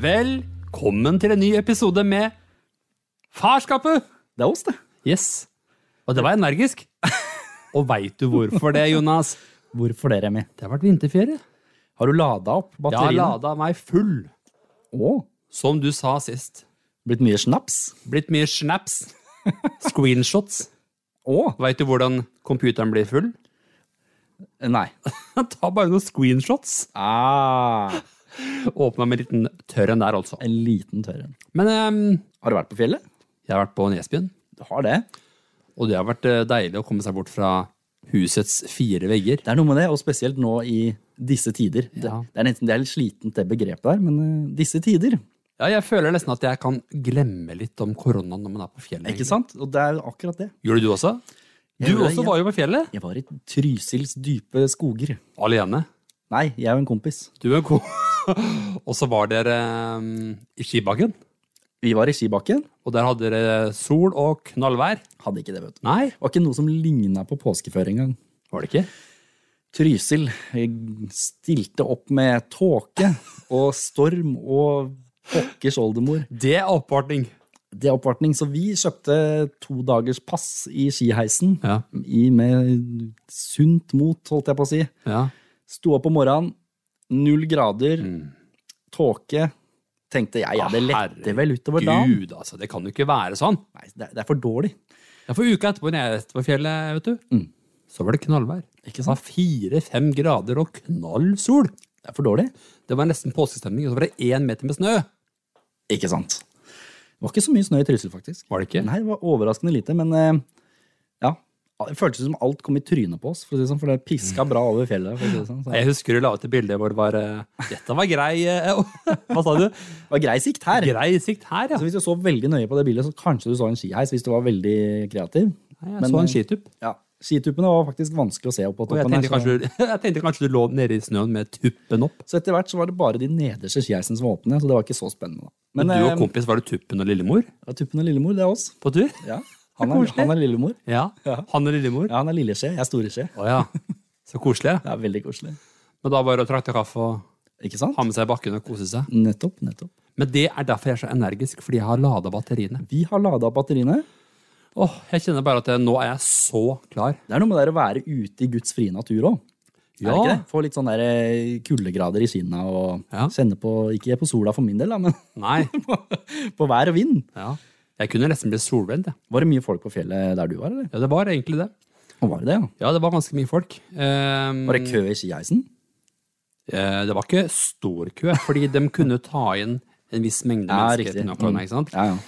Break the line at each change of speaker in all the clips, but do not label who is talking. Velkommen til en ny episode med Farskapet!
Det er oss, det.
Yes. Og det var energisk. Og veit du hvorfor det, Jonas?
Hvorfor det, Remi?
Det har vært vinterferie.
Har du lada opp
Jeg har
batteriene?
lada meg full,
Å,
som du sa sist.
blitt mye snaps?
Blitt mye snaps. Screenshots.
Å,
Veit du hvordan computeren blir full?
nei.
Ta bare noen screenshots.
Ah,
Åpna med en liten tørr en der, altså.
en liten tørr en.
Men ehm,
Har du vært på fjellet?
jeg har vært på Nesbyen,
Du har det.
og det har vært eh, deilig å komme seg bort fra husets fire vegger.
Det er noe med det, og spesielt nå i disse tider. Det,
Ja.
det er nesten det er litt slitent, det begrepet der, men eh, disse tider.
Ja, jeg føler nesten at jeg kan glemme litt om koronaen når man er på fjellet.
Ikke sant? Og det er akkurat det.
Gjorde du også? Du
gjorde det,
også
ja.
var jo på fjellet.
Jeg var i Trysils dype skoger.
Alene.
Nei, jeg og en kompis.
Du og ko. og så var dere ehm, i skibakken,
Vi var i skibakken.
og der hadde dere sol og knallvær.
Hadde ikke det, vet du.
Nei,
Det var ikke noe som ligna på påskeføre engang.
var det ikke?
Trysil stilte opp med tåke og storm og pokkers oldemor.
Det er oppvartning.
Det er oppvartning, så vi kjøpte to dagers pass i skiheisen.
Ja.
I med sunt mot, holdt jeg på å si.
ja.
Sto opp om morgenen, null grader, tåke. Tenkte jeg, ja, det letter vel utover dagen.
Gud, altså, det kan jo ikke være sånn.
Nei, det er- det er for dårlig.
Ja, for uka etterpå når jeg reiste på fjellet, vet du, så var det knallvær. Mm. Ikke sant? Det var fire-fem grader og knall sol.
Det er for dårlig.
Det var nesten påskestemning, og så var det én meter med snø.
Ikke sant. Det var ikke så mye snø i Trysil, faktisk.
Var det ikke?
Nei, det var overraskende lite, men eh, ja. Det føltes som alt kom i trynet på oss, for, å si det, sånn, for det piska bra over fjellet. For å si det, sånn. så.
Jeg husker du la ut et bilde hvor det var eh, 'Dette var grei eh, Hva sa du?
det var grei sikt her.
Grei sikt her, ja.
Så hvis du så veldig nøye på det bildet, så kanskje du så en skiheis hvis du var veldig kreativ.
Nei, jeg
Men,
så
eh,
en skitupp.
Ja, Skituppene var faktisk vanskelig å se opp på
Og jeg
toppen.
tenkte,
her, så,
kanskje, jeg tenkte kanskje du lå nede i snøen med tuppen opp.
så etter hvert så var det bare de nederste skiheisene som var åpne, så det var ikke så spennende. da. Men,
Men du
eh,
og kompis, var det tuppen og lillemor
ja, Tuppen og Lillemor, det er oss.
på tur?
Ja, han,
Det er
er,
koselig.
han er Lillemor.
Ja. Han og lillemor?
Ja, han er Lilleskje, jeg er Storeskje.
Å ja. Så koselig. ja.
Det er veldig koselig.
Men da bare å trakte kaffe og
Ikke sant?
ha med seg i bakken og kose seg.
Nettopp, nettopp.
Men det er derfor jeg er så energisk, fordi jeg har lada batteriene.
Vi har lada opp batteriene.
Åh, Jeg kjenner bare at jeg, nå er jeg så klar.
Det er noe med det der å være ute i Guds frie natur òg.
Ja.
Få litt sånne der, eh, kuldegrader i kinna og
Ja.
kjenne på Ikke på sola for min del, da, men
Nei.
på vær og vind.
Ja. Jeg kunne nesten blitt solbrent, jeg.
Var det mye folk på fjellet der du var, eller?
Ja, det var egentlig det.
Og var det det, ja?
Ja, det var ganske mye folk. Ehm,
Var det kø i skieisen?
eh, det var ikke stor kø, fordi de kunne ta inn en viss mengde
Ja,
mennesker
riktig.
til Nordkorea, ikke sant?
Ja, ja.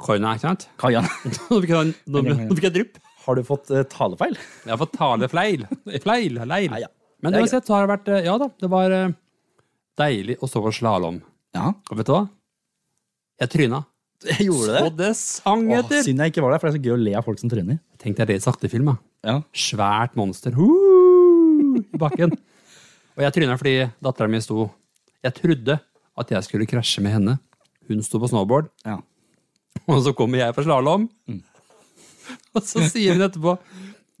Koina, ikke sant?
Kaja,
Nå fikk jeg en- nå fikk- nå fikk jeg drypp.
har du fått eh, talefeil?
Jeg har fått tale fleil. Fleil, leil.
ja.
Men
Det er
uansett så har det vært eh, Ja da, det var eh, deilig å stå på slalåm.
Ja,
Og vet du hva? Jeg tryna.
jeg gjorde det.
Og det sang
Åh,
etter!
Synd jeg ikke var der, for det er så gøy å le av folk som tryner.
Tenk deg det i sakte film, da.
Ja.
Svært monster Hoo! i bakken. Og jeg tryna fordi dattera mi sto Jeg trodde at jeg skulle krasje med henne. Hun sto på snowboard,
ja.
og så kommer jeg på slalåm. Og så sier hun etterpå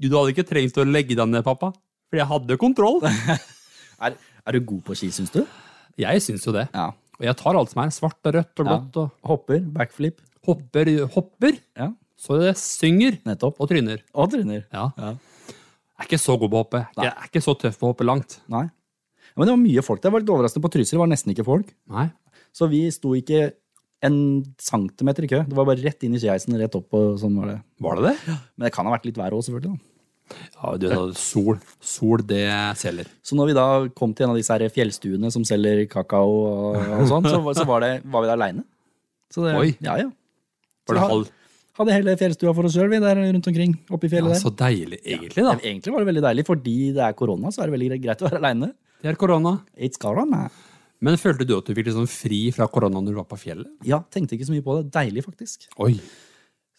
Du du hadde ikke trengt å legge deg ned, pappa. For jeg hadde kontroll.
Er, er du god på ski, syns du?
Jeg syns jo det.
Ja.
Og jeg tar alt som er. Svart og rødt og blått. Og
Hopper, backflip.
hopper, hopper.
Ja,
Så det synger.
nettopp.
Og tryner.
Og tryner.
Ja.
Ja.
Jeg er ikke så god på å hoppe. Jeg er ikke så tøff på å hoppe langt.
Nei. Ja, men det var mye folk. Det var litt overraskende. På Trysil var det nesten ikke folk.
Nei.
Så vi sto ikke en centimeter i kø. Det var bare rett inn i skieisen, rett opp og sånn var det.
Var det det?
Men det kan ha vært litt vær òg, selvfølgelig. da.
Ja, du, da, sol. Sol, det selger.
Så når vi da kom til en av disse her fjellstuene som selger kakao og, og sånn, så, var- så var, det, var vi der aleine.
Oi.
Ja, ja.
Var det
Ja.
halv?
Hadde hele fjellstua for oss sjøl, vi, der rundt omkring. Oppe i
Ja, sånn,
fjellet
så
der.
deilig, egentlig, da.
Ja, Egentlig var det veldig deilig, fordi det er korona, så er det veldig greit å være aleine.
Det er korona.
It's corona.
Men følte du at du fikk litt sånn fri fra korona når du var på fjellet?
Ja, tenkte ikke så mye på det. Deilig, faktisk.
Oi.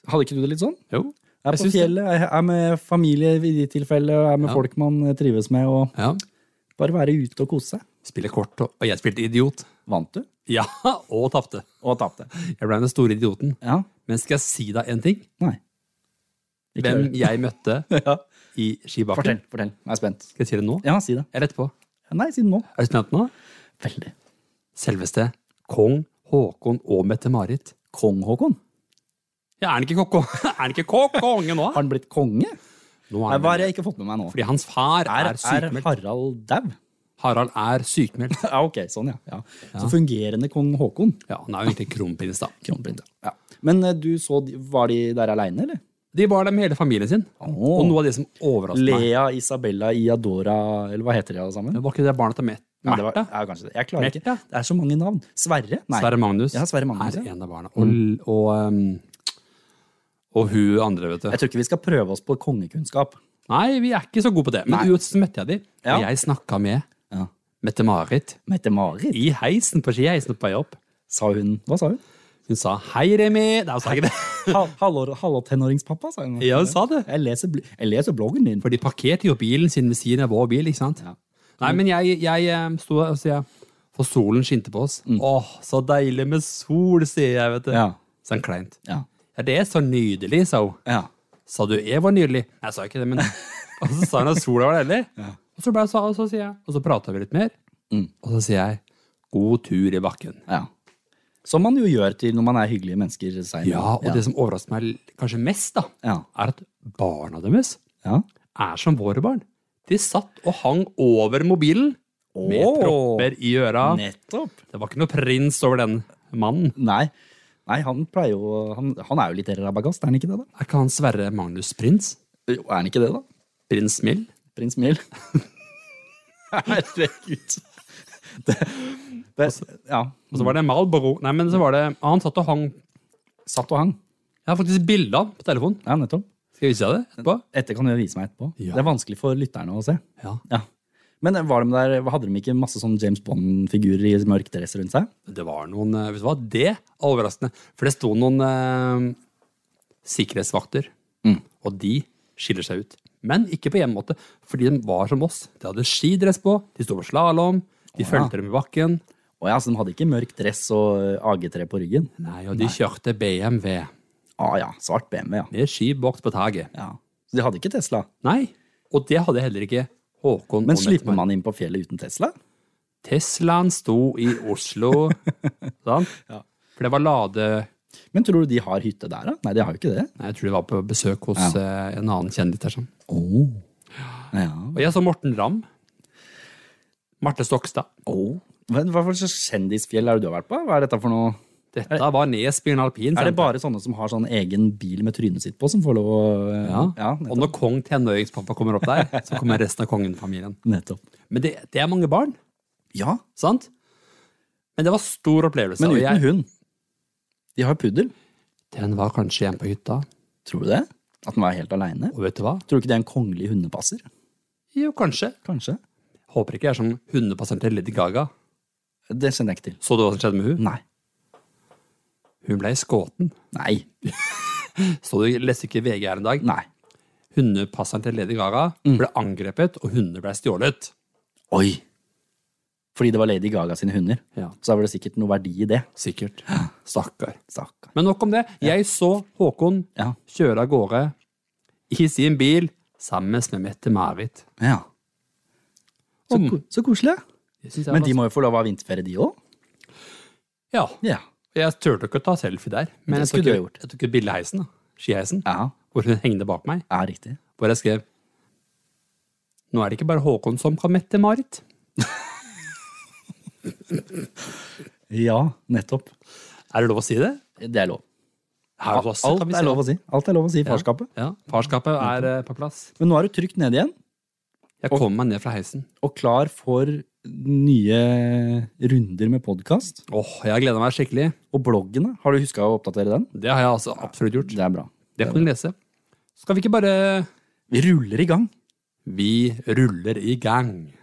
Hadde ikke du det litt sånn?
Jo.
Jeg er på
syns det.
fjellet, jeg er med familie i de tilfeller, og jeg er med
Ja.
folk man trives med, og
Ja.
bare være ute og kose seg.
Spille kort, og og jeg spilte idiot.
Vant du?
Ja, og tapte.
Og tapte.
Jeg ble den store idioten.
Ja.
Men skal jeg si deg en ting?
Nei. Ikke
Hvem
høre.
jeg møtte
Ja.
i skibakken?
Fortell, fortell. Jeg er spent.
Skal jeg si det nå?
Ja, si det.
Eller etterpå?
Nei, si det nå.
Er du spent nå?
Veldig.
Selveste Kong Håkon og Mette-Marit.
Kong Håkon?
Ja, er han ikke kokko? Er han ikke kokkonge nå?
Har han blitt konge?
nå
Nei,
er han,
hva har jeg ikke fått med meg nå?
fordi hans far
Er,
er
er
sykmeldt.
Harald dau?
Harald er sykmeldt.
Ja, ok, sånn ja. ja. Så fungerende kong Håkon.
Ja, han er jo egentlig kronprins, da.
Kronprins, ja. Men eh, du så, de- var de der aleine, eller?
De var der med hele familien sin. Og noe av det som
Altså,
overrasket meg
Lea, Isabella, Iadora, eller hva heter de alle sammen?
Men Var ikke det barna til Met-
Nei, det var,
Märtha?
ja, kanskje det. Jeg klarer ikke.
Märtha?
Det er så mange navn. Sverre? Nei.
Sverre Magnus
Ja, Sverre Magnus,
er
ja. Mm.
en av barna. Og, og, um, og hun andre, vet du.
Jeg tror ikke vi skal prøve oss på kongekunnskap.
Nei, vi er ikke så gode på det. Men
Nei.
uansett så møtte jeg dem.
Ja.
Og jeg snakka med
Ja.
Mette-Marit
Mette-Marit,
i heisen på skiheisen på vei opp.
sa hun. Hva sa hun?
Hun sa 'hei, Remi'. Nei, hun sa ikke det.
Ha- Hallo, hallo tenåringspappa, sa hun.
Ja, hun sa det.
Jeg leser, bl- jeg leser bloggen din.
For de parkerte jo bilen sin ved siden av vår bil, ikke sant?
Ja.
Nei, men jeg, jeg eh, sto der og sa For solen skinte på oss. Åh, så deilig med sol, sier jeg, vet du.
Mm. Ja.
Så han kleint.
Ja.
Ja, det er så nydelig, sa hun.
Ja.
Sa du jeg var nydelig? Nei, Jeg sa ikke det, men Og så sa hun at sola var deilig. Og så ble jeg så, og så sier jeg Og så prata vi litt mer.
Mm.
Og så sier jeg god tur i bakken.
ja. Som man jo gjør til når man er hyggelige mennesker. seg imellom.
Ja, og det som overrasker meg l- kanskje mest, da,
Ja.
er at barna deres
ja.
er som våre barn. De satt og hang over mobilen med
Åh.
propper i øra.
Nettopp.
Det var ikke noe prins over den mannen.
Nei. Nei, han pleier jo Han, han er jo litt rabagast, er han ikke det, da?
Er ikke han Sverre Magnus prins?
Jo, er han ikke det, da?
Prins Mild?
Prins Mil. Herregud. Det, det, ja.
Og så var det Malboro Nei, men så var det Han satt og hang
Satt og hang.
Jeg har faktisk bilde av på telefonen.
Ja, nettopp.
Skal jeg vise deg det etterpå?
Dette kan du vise meg etterpå.
Ja.
Det er vanskelig for lytterne å se.
Ja.
Ja. Men var de der, hadde de ikke masse sånn James Bond-figurer i mørk dress rundt seg?
Det var noen eh, Vet du hva, det er overraskende. For det sto noen eh, sikkerhetsvakter, og de skiller seg ut. Men ikke på en måte, fordi de var som oss. De hadde skidress på, de sto på slalåm, de fulgte dem i bakken.
Å ja, så de hadde ikke mørk dress og eh, AG3 på ryggen?
Nei, og de kjørte BMW
Å ah, ja, svart BMW, ja.
med ski bak på taket.
ja. Så de hadde ikke Tesla.
Nei, og det hadde heller ikke Håkon
Men
og
slipper
Mette-Marit.
man inn på fjellet uten Tesla?
Teslaen sto i Oslo, sant? For det var lade...
Men tror du de har hytte der, da? Nei, de har jo ikke det.
Nei, jeg tror de var på besøk hos eh, en annen kjendis der, sånn.
Oh. Ja.
Og jeg så Morten Ramm. Marte Stokstad.
Oh. Men hva for slags kjendisfjell er det du har vært på? Hva er dette for noe?
Dette var Nesbyen alpin.
Er det
sant?
bare sånne som har sånn egen bil med trynet sitt på, som får lov å eh,
ja.
nettopp.
Og når kong tenåringspappa kommer opp der, så kommer resten av kongenfamilien.
nettopp.
Men det, det er mange barn,
Ja,
sant? Men det var stor opplevelse.
men
og
uten
jeg,
hund. De har puddel.
den var kanskje igjen på hytta.
Tror du det? At den var helt aleine?
Og vet du hva?
Tror du ikke det er en kongelig hundepasser?
Jo, kanskje.
Kanskje.
Håper ikke jeg er som hundepasseren til Lady Gaga.
Det kjenner jeg ikke til.
Så du hva som skjedde med hun?
Nei.
Hun ble skåten.
Nei.
Så du leste ikke VG her en dag?
Nei.
Hundepasseren til Lady Gaga
Mm.
ble angrepet, og hunder ble stjålet.
Oi! Fordi det var Lady Gaga sine hunder.
Ja.
Så da var det sikkert noe verdi i det.
Sikkert. Stakkar.
Stakkar.
Men nok om det. Jeg så Håkon
Ja.
kjøre av gårde i sin bil sammen med Mette-Marit.
ja. Så,
Om.
ko- så koselig.
Det synes jeg
Men
var-
de må jo få lov å ha vinterferie, de òg?
Ja.
Ja.
Jeg turte ikke å ta selfie der, men jeg
Det
tok,
skulle du ha
et- jeg tok et bilde i heisen. da. Skiheisen.
Ja.
Hvor hun hengte bak meg.
ja, riktig.
Hvor jeg skrev Nå er det ikke bare Håkon som kan Mette-Marit.
Ja, nettopp.
Er det lov å si det?
Det er lov.
Her hos oss
Alt
kan vi
er
si
lov å si. Alt er lov å si i
Ja.
farskapet.
Ja. Farskapet er eh, på plass.
Men nå er du trygt nede igjen,
Jeg kom meg ned fra heisen.
og klar for nye runder med podkast.
Åh, jeg gleder meg skikkelig.
Og bloggene, har du huska å oppdatere den?
Det har jeg altså absolutt gjort.
Det er bra.
Det kan du lese. Skal vi ikke bare
Vi ruller i gang.
Vi ruller i gang.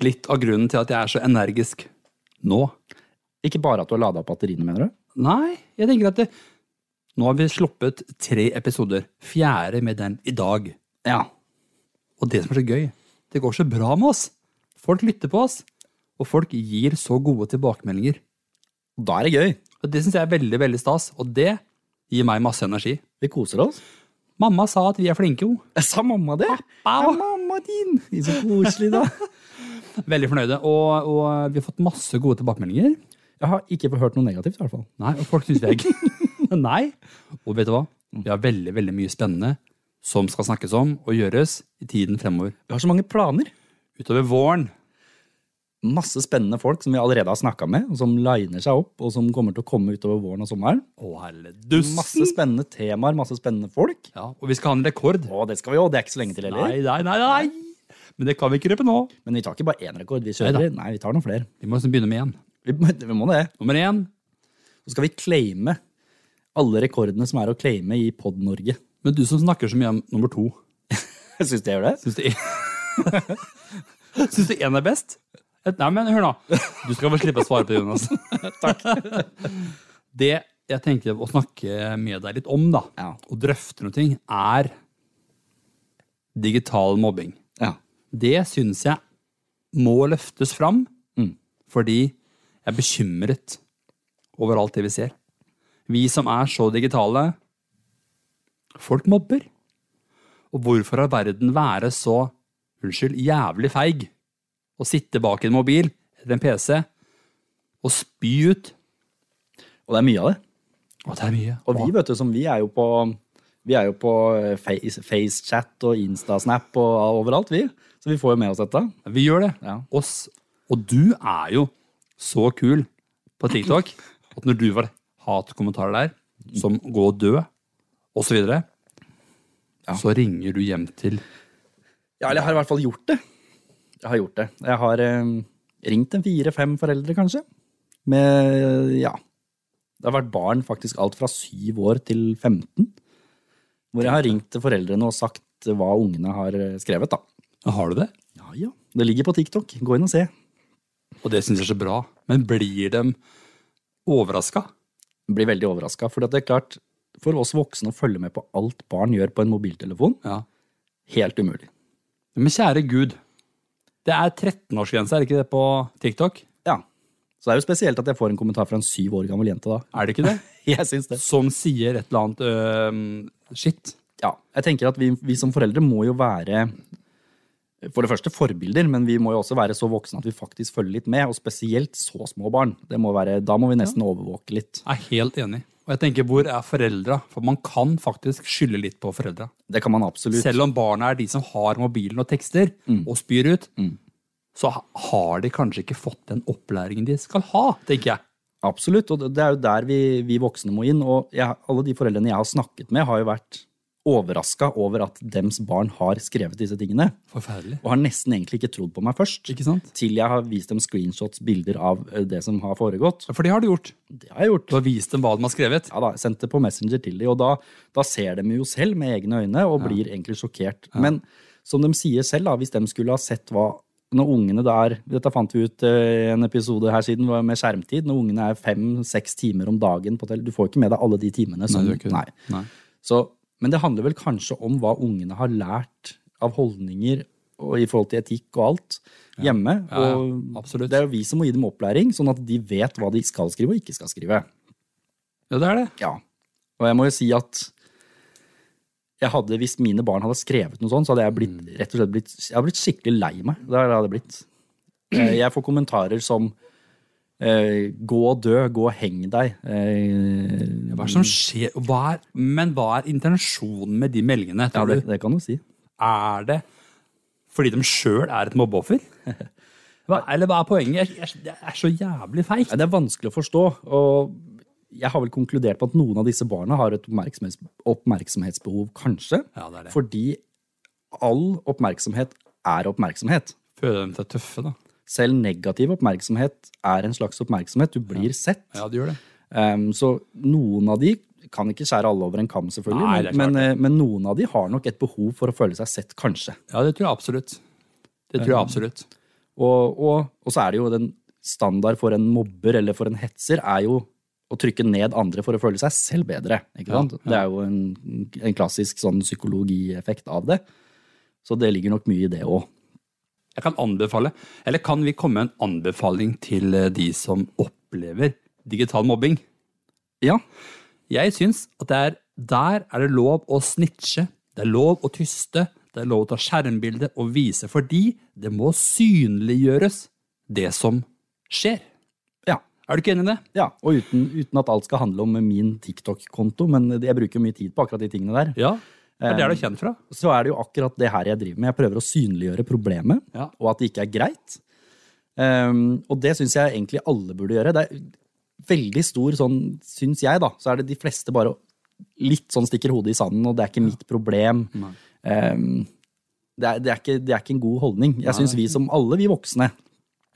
Litt av grunnen til at jeg er så energisk nå
Ikke bare at du har lada opp batteriene, mener du?
Nei, jeg tenker at det, nå har vi sluppet tre episoder. Fjerde med den i dag.
Ja.
Og det som er så gøy, det går så bra med oss. Folk lytter på oss, og folk gir så gode tilbakemeldinger.
Da er det gøy.
Og Det syns jeg er veldig, veldig stas, og det gir meg masse energi.
Vi koser oss.
Mamma sa at vi er flinke, hun.
Sa mamma det? Ja, mamma din! De er så koselig, da.
Veldig fornøyde. Og, og vi har fått masse gode tilbakemeldinger.
Jeg har ikke hørt noe negativt, i hvert fall.
Nei, og folk syns vi er gøy. Nei. Og vet du hva? Vi har veldig, veldig mye spennende som skal snakkes om og gjøres i tiden fremover.
Vi har så mange planer.
Utover våren.
Masse spennende folk som vi allerede har snakka med, og som liner seg opp, og som kommer til å komme utover våren og sommeren.
Å, herre dussen.
Masse spennende temaer, masse spennende folk.
Ja, og vi skal ha en rekord.
Å, det skal vi òg. Det er ikke så lenge til heller.
Nei, nei, nei, nei. Men det kan vi ikke røpe nå.
Men vi tar ikke bare én rekord. Vi kjører. Nei, vi tar noen flere.
Vi må nesten begynne med én.
Vi, vi må det.
Nummer én.
Så skal vi claime alle rekordene som er å claime i Pod-Norge.
Men du som snakker så mye om nummer to,
Syns du jeg gjør det?
syns du Syns du én er best? Et, nei, men hør nå. Du skal få slippe å svare på det, Jonas.
Takk.
Det jeg tenkte å snakke med deg litt om, da,
Ja.
og drøfte noe ting, er digital mobbing.
Ja.
Det syns jeg må løftes fram, fordi jeg er bekymret over alt det vi ser. Vi som er så digitale Folk mobber. Og hvorfor har verden være så unnskyld, jævlig feig å sitte bak en mobil eller en PC og spy ut
Og det er mye av det.
Å, det er mye.
Og vi, vet du, som vi er jo på vi er jo på eh, Face- FaceChat og Instasnap og overalt, vi. Så vi får jo med oss dette.
Vi gjør det.
Ja.
Oss. Og du er jo så kul på TikTok at når du var hatkommentarer der, som gå og dø, og så videre, så ringer du hjem til
Ja, eller jeg har i hvert fall gjort det. Jeg har gjort det. Jeg har eh, ringt en fire-fem foreldre, kanskje. Med ja. Det har vært barn faktisk alt fra syv år til 15. Hvor jeg har ringt til foreldrene og sagt hva ungene har eh, skrevet, da.
Ja, Har du det?
Ja, ja. Det ligger på TikTok. Gå inn og se.
Og det syns jeg er så bra. Men blir de overraska?
Blir veldig overraska. For det er klart, for oss voksne å følge med på alt barn gjør på en mobiltelefon,
Ja.
helt umulig.
Men kjære gud, det er 13-årsgrense, er det ikke det, på TikTok?
Ja. Så det er jo spesielt at jeg får en kommentar fra en syv år gammel jente da.
Er det ikke det?
Jeg syns det.
Som sier et eller annet øh, shit.
Ja, jeg tenker at vi, vi som foreldre må jo være for det første forbilder, men vi må jo også være så voksne at vi faktisk følger litt med, og spesielt så små barn. Det må være, da må vi nesten overvåke litt.
Jeg er helt enig. Og jeg tenker, hvor er foreldra? For man kan faktisk skylde litt på foreldra.
Det kan man absolutt.
Selv om barna er de som har mobilen og tekster og spyr ut, så ha- har de kanskje ikke fått den opplæringen de skal ha, tenker jeg.
Absolutt, og det- det er jo der vi, vi voksne må inn. Og jeg, alle de foreldrene jeg har snakket med, har jo vært overraska over at dems barn har skrevet disse tingene.
Forferdelig.
Og har nesten egentlig ikke trodd på meg først.
Ikke sant?
Til jeg har vist dem screenshots, bilder av eh, det som har foregått.
For det har de gjort.
Det har jeg gjort.
Du har vist dem hva de har skrevet.
ja da, sendte på Messenger til dem, og da, da ser de jo selv med egne øyne og blir egentlig sjokkert. Men som de sier selv, da, hvis de skulle ha sett hva når ungene der, Dette fant vi ut eh, i en episode her siden med skjermtid. Når ungene er fem-seks timer om dagen på tele, Du får ikke med deg alle de timene. Som,
du gjør ikke det. Nei.
Så, men det handler vel kanskje om hva ungene har lært av holdninger og i forhold til etikk og alt hjemme.
Ja, ja,
og
absolutt.
Det er jo vi som må gi dem opplæring, sånn at de vet hva de skal skrive og ikke skal skrive.
Ja, det er det.
Ja. Og jeg må jo si at jeg hadde, hvis mine barn hadde skrevet noe sånt, så hadde jeg blitt,
Mm.
rett og slett blitt, jeg hadde blitt skikkelig lei meg. Det hadde jeg blitt. Eh, Jeg får kommentarer som eh, Gå og dø, gå og heng deg. Eh,
Hva er det som skjer? Og Hva er, men hva er intensjonen med de meldingene?
ja,
Tror
det,
du?
det kan du si.
Er det fordi de sjøl er et mobbeoffer? Hva, eller hva er poenget? Jeg, jeg, det er så jævlig feigt.
Nei, Det er vanskelig å forstå. og jeg har vel konkludert på at noen av disse barna har et oppmerksomhets oppmerksomhetsbehov, kanskje.
Ja, det er det.
Fordi all oppmerksomhet er oppmerksomhet.
Føler dem seg tøffe, da.
Selv negativ oppmerksomhet er en slags oppmerksomhet. Du blir sett.
Ja, de gjør det.
Um, så noen av de kan ikke skjære alle over en kam, selvfølgelig,
Nei, det er klart
men, men, eh, men noen av de har nok et behov for å føle seg sett, kanskje.
Ja, det tror jeg absolutt. Det tror jeg absolutt.
Og, og, og så er det jo den standard for en mobber eller for en hetser er jo å trykke ned andre for å føle seg selv bedre. ikke sant? Det er jo en, en klassisk sånn psykologieffekt av det. Så det ligger nok mye i det òg.
Jeg kan anbefale, eller kan vi komme med en anbefaling til eh, de som opplever digital mobbing?
Ja.
Jeg syns at det er Der er det lov å snitche, det er lov å tyste, det er lov å ta skjermbilde og vise, fordi det må synliggjøres, det som skjer.
Ja.
Er du ikke enig i det?
ja. Og uten, uten at alt skal handle om min TikTok-konto, men jeg bruker mye tid på akkurat de tingene der.
Ja. Eh, Det er der du er kjent fra.
så er det jo akkurat det her jeg driver med. Jeg prøver å synliggjøre problemet,
Ja.
og at det ikke er greit. Ehm, og det syns jeg egentlig alle burde gjøre. Det er veldig stor sånn, syns jeg, da, så er det de fleste bare litt sånn stikker hodet i sanden, og det er ikke mitt problem. Ehm, det, er, det, er ikke, det er ikke en god holdning. Jeg syns vi som alle vi voksne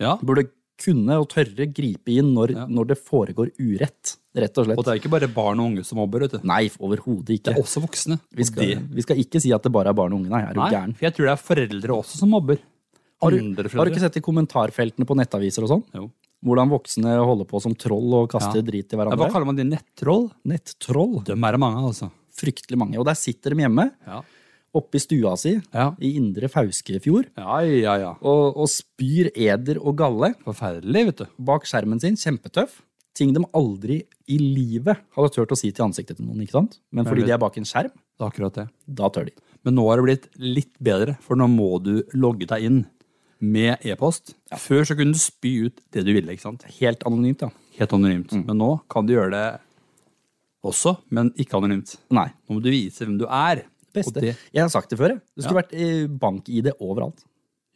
Ja.
burde kunne og tørre gripe inn når, når det foregår urett, rett og slett.
Og det er ikke bare barn og unge som mobber, vet du.
Nei, overhodet
Det
ikke.
er også voksne.
Vi skal, vi skal ikke si at det bare er barn og unge, nei. Er du
Nei,
gæren?
for jeg tror det er foreldre også som mobber.
Har du,
Andre
har du ikke
foreldre.
sett i kommentarfeltene på nettaviser og sånn?
Jo.
Hvordan voksne holder på som troll og kaster
Ja.
drit
Ja,
i
Hva
hverandre?
kaller man de? Nettroll?
Nettroll.
Dem er det mange, altså.
Fryktelig mange. Og der sitter de hjemme,
Ja.
oppe i stua si,
Ja.
i Indre Fauskefjord,
Ja, ja, ja.
og, og spyr eder og galle
Forferdelig, vet du.
bak skjermen sin. Kjempetøff. Ting de aldri i livet hadde turt å si til ansiktet til noen, ikke sant? Men fordi de er bak en skjerm,
Det er akkurat det.
da tør de.
Men nå har det blitt litt bedre, for nå må du logge deg inn med e-post. Før så kunne du spy ut det du ville, ikke sant?
Helt anonymt, ja.
Helt anonymt.
Mm.
Men nå kan du gjøre det også, men ikke anonymt.
Nei.
Nå må du vise hvem du er. Og
Beste.
det-
Jeg har sagt det før, jeg. Det skulle vært eh, bank-ID overalt.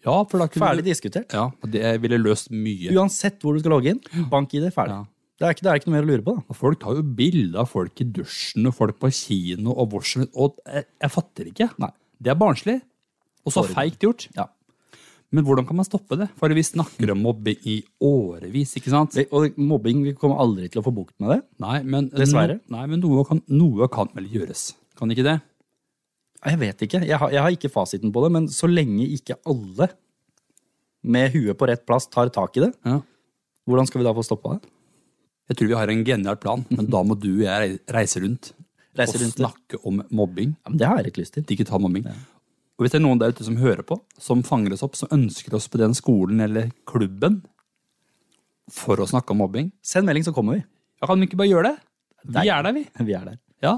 Ja, for da kunne
Ferdig
du...
diskutert.
Ja, og det ville løst mye.
Uansett hvor du skal logge inn, bank-ID, ferdig.
Ja.
Det, er ikke, det er ikke noe mer å lure på, da.
Og folk tar jo bilder av folk i dusjen og folk på kino og hvor som helst. Og jeg, jeg fatter ikke.
Nei.
Det er barnslig. Og så feigt gjort.
Ja.
Men hvordan kan man stoppe det? For vi snakker om mobbing i årevis, ikke sant?
Vi- Og mobbing, vi kommer aldri til å få bukt med det.
Nei, men,
Dessverre.
No, nei, men noe, kan, noe kan vel gjøres? Kan ikke det?
Nei, Jeg vet ikke. Jeg har, jeg har ikke fasiten på det, men så lenge ikke alle med huet på rett plass tar tak i det,
Ja.
hvordan skal vi da få stoppa det?
Jeg tror vi har en genial plan, men da må du og jeg rei- reise rundt
Reise
og
rundt, ja.
snakke om mobbing.
Ja, men Det har jeg litt lyst til.
digital mobbing. Og hvis det er noen der ute som hører på, som fanger oss opp, som ønsker oss på den skolen eller klubben for å snakke om mobbing,
Send melding, så kommer vi.
ja, kan vi ikke bare gjøre det? Vi
Deilig.
er der, vi.
Vi er der.
Ja.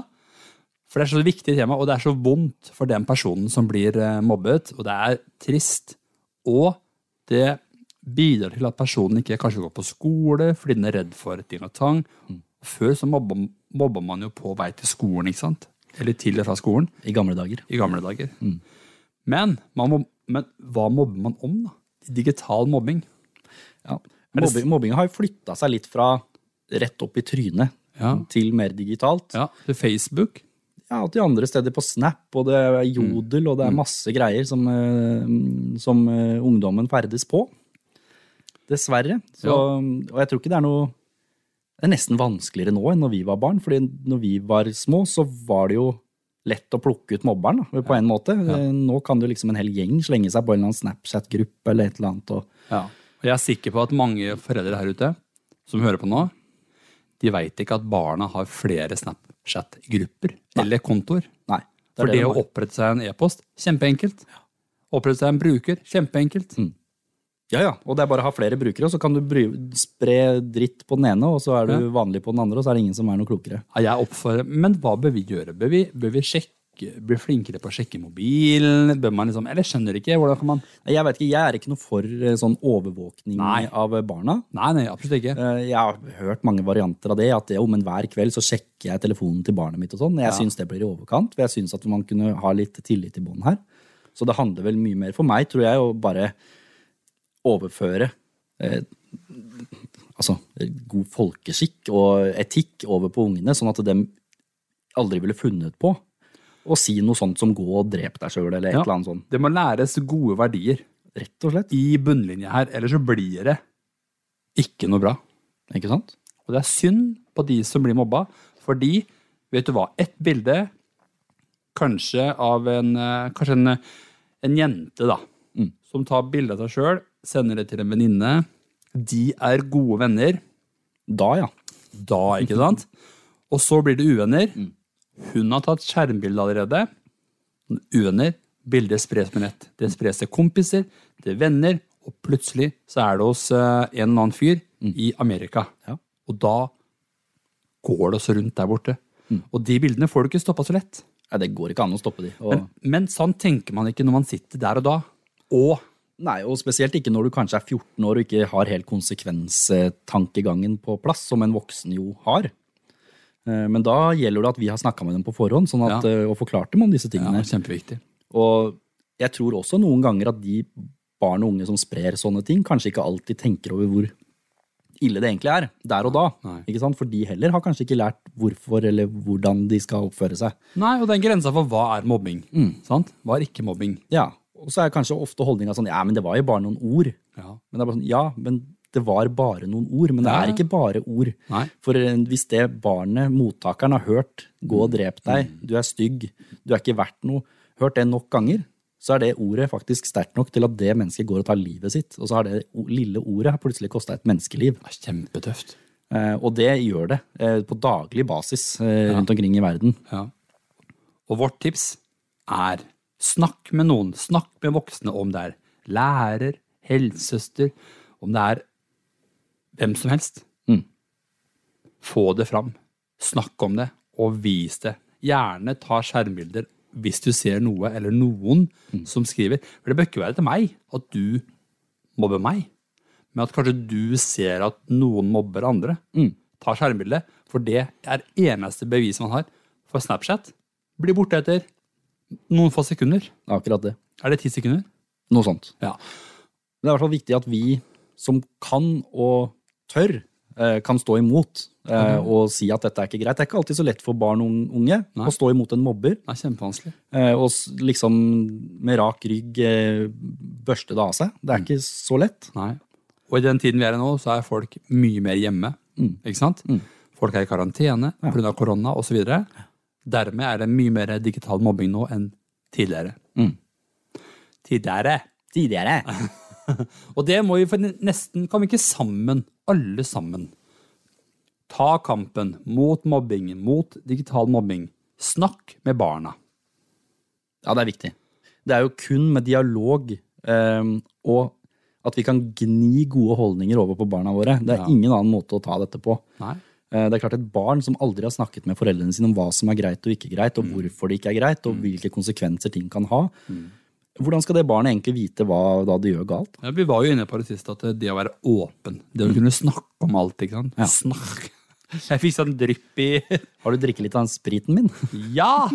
For det er så viktig tema, og det er så vondt for den personen som blir eh, mobbet, og det er trist. Og det bidrar til at personen ikke kanskje går på skole fordi den er redd for ting og tang. Før så mobba, mobba man jo på vei til skolen, ikke sant? Eller til og fra skolen
I gamle dager.
i gamle dager. Men, man må, men hva mobber man om, da? Digital mobbing.
Ja.
det-
Mobbing, mobbinga har jo flytta seg litt fra rett opp i trynet
Ja.
til mer digitalt.
Ja, til Facebook.
Ja, til andre steder på Snap, og det er
Mm.
Jodel, og det er masse greier som, eh, som eh, ungdommen ferdes på. Dessverre. Så,
Ja.
Og jeg tror ikke det er noe Det er nesten vanskeligere nå enn når vi var barn, fordi når vi var små, så var det jo lett å plukke ut mobberen, da, på en måte. Eh, Nå kan det jo liksom en hel gjeng slenge seg på en eller annen Snapchat-gruppe eller et eller annet. Og,
Og jeg er sikker på at mange foreldre her ute som hører på nå, de veit ikke at barna har flere Snapchat-grupper eller kontoer.
nei.
For det,
det
å
var.
opprette seg en e-post, kjempeenkelt. Opprette seg en bruker, kjempeenkelt.
Ja, ja. Og det er bare å ha flere brukere, og så kan du bry, spre dritt på den ene, og så er du vanlig på den andre, og så er det ingen som er noe klokere.
Ja, jeg oppfordrer, men hva bør vi gjøre? Bør vi, bør vi sjekke, bli flinkere på å sjekke mobilen? Bør man liksom, eller skjønner ikke, hvordan kan man
Nei, Jeg vet ikke, jeg er ikke noe for eh, sånn overvåkning
Nei.
av eh, barna.
Nei, nei, absolutt ikke.
Eh, Jeg har hørt mange varianter av det, at jo, men hver kveld så sjekker jeg telefonen til barnet mitt og sånn. Jeg synes det blir i overkant, for jeg synes at man kunne ha litt tillit i bånd her. Så det handler vel mye mer for meg, tror jeg, å bare overføre eh, altså, god folkeskikk og etikk over på ungene, sånn at de aldri ville funnet på å si noe sånt som gå og drep deg sjøl, eller et
Ja.
eller annet sånt.
Det må læres gode verdier
Rett og slett.
i bunnlinja her, ellers så blir det ikke noe bra.
Ikke sant?
Og det er synd på de som blir mobba, fordi, vet du hva, ett bilde, kanskje av en, eh, kanskje en, eh, en jente da, som tar bilde av seg sjøl, sender det til en venninne, de er gode venner,
Da, ja.
da, ikke sant? Og så blir det uvenner. Hun har tatt skjermbilde allerede. Uvenner. Bildet spres med nett. Det spres til kompiser, til venner, og plutselig så er det hos eh, en Mm. eller annen fyr i Amerika.
Ja.
Og da går det også rundt der borte. Og de bildene får du ikke stoppa så lett.
Nei, det går ikke an å stoppe de. Og,
Men, men sånn tenker man ikke når man sitter der og da. Og
nei, og spesielt ikke når du kanskje er 14 år og ikke har helt konsekvenstankegangen på plass, som en voksen jo har. Eh, Men da gjelder det at vi har snakka med dem på forhånd sånn at,
Ja.
eh, og forklart dem om disse
ja,
tingene.
kjempeviktig.
Og jeg tror også noen ganger at de barn og unge som sprer sånne ting, kanskje ikke alltid tenker over hvor ille det egentlig er, der og da.
Nei.
Ikke sant? For de heller har kanskje ikke lært hvorfor eller hvordan de skal oppføre seg.
Nei, og den grensa for hva er mobbing. Sant? Hva er ikke mobbing?
Ja, Og så er kanskje ofte holdninga sånn ja, men det var jo bare noen ord.
Ja.
Men det er bare sånn, ja, men det var bare noen ord. Men det
Ja.
er ikke bare ord.
Nei.
For eh, hvis det barnet, mottakeren, har hørt 'gå og drep
Mm.
deg', 'du er stygg', 'du er ikke verdt noe', hørt det nok ganger, så er det ordet faktisk sterkt nok til at det mennesket går og tar livet sitt. Og så har det o- lille ordet har plutselig kosta et menneskeliv.
Det er kjempetøft.
Eh, Og det gjør det eh, på daglig basis eh, rundt omkring i verden.
Ja. Og vårt tips er snakk med noen. Snakk med voksne om det er lærer, helsesøster, om det er hvem som helst.
Mm.
Få det fram. Snakk om det, og vis det. Gjerne ta skjermbilder hvis du ser noe eller noen som skriver. For det bør ikke være til meg at du mobber meg, men at kanskje du ser at noen mobber andre. Ta skjermbildet, for det er eneste beviset man har. For Snapchat blir borte etter noen få sekunder.
Akkurat det.
Er det ti sekunder?
Noe sånt.
Ja.
Men det er i hvert fall viktig at vi som kan og tør, eh, kan stå imot eh, og si at dette er ikke greit. Det er ikke alltid så lett for barn og unge å stå imot en mobber.
Det er kjempevanskelig.
eh, Og s- liksom med rak rygg eh, børste det av seg. Det er ikke så lett.
Nei. Og i den tiden vi er i nå, så er folk mye mer hjemme. Ikke sant? Folk er i karantene pga. av korona osv. Dermed er det mye mer digital mobbing nå enn tidligere. Tidligere.
Tidligere.
Og det må vi for nesten Kan vi ikke sammen, alle sammen, ta kampen mot mobbing, mot digital mobbing? Snakk med barna.
Ja, det er viktig. Det er jo kun med dialog eh, og at vi kan gni gode holdninger over på barna våre. Det er ingen annen måte å ta dette på.
Nei.
Eh, Det er klart Et barn som aldri har snakket med foreldrene sine om hva som er greit og ikke greit, og hvorfor det ikke er greit, og hvilke konsekvenser ting kan ha Hvordan skal det barnet egentlig vite hva da det gjør galt?
Ja, vi var jo inne på det sist, at det å være åpen, det å kunne snakke om alt, ikke sant? Snakk. Jeg fikk sånn drypp i
Har du drikket litt av den spriten min?
Ja!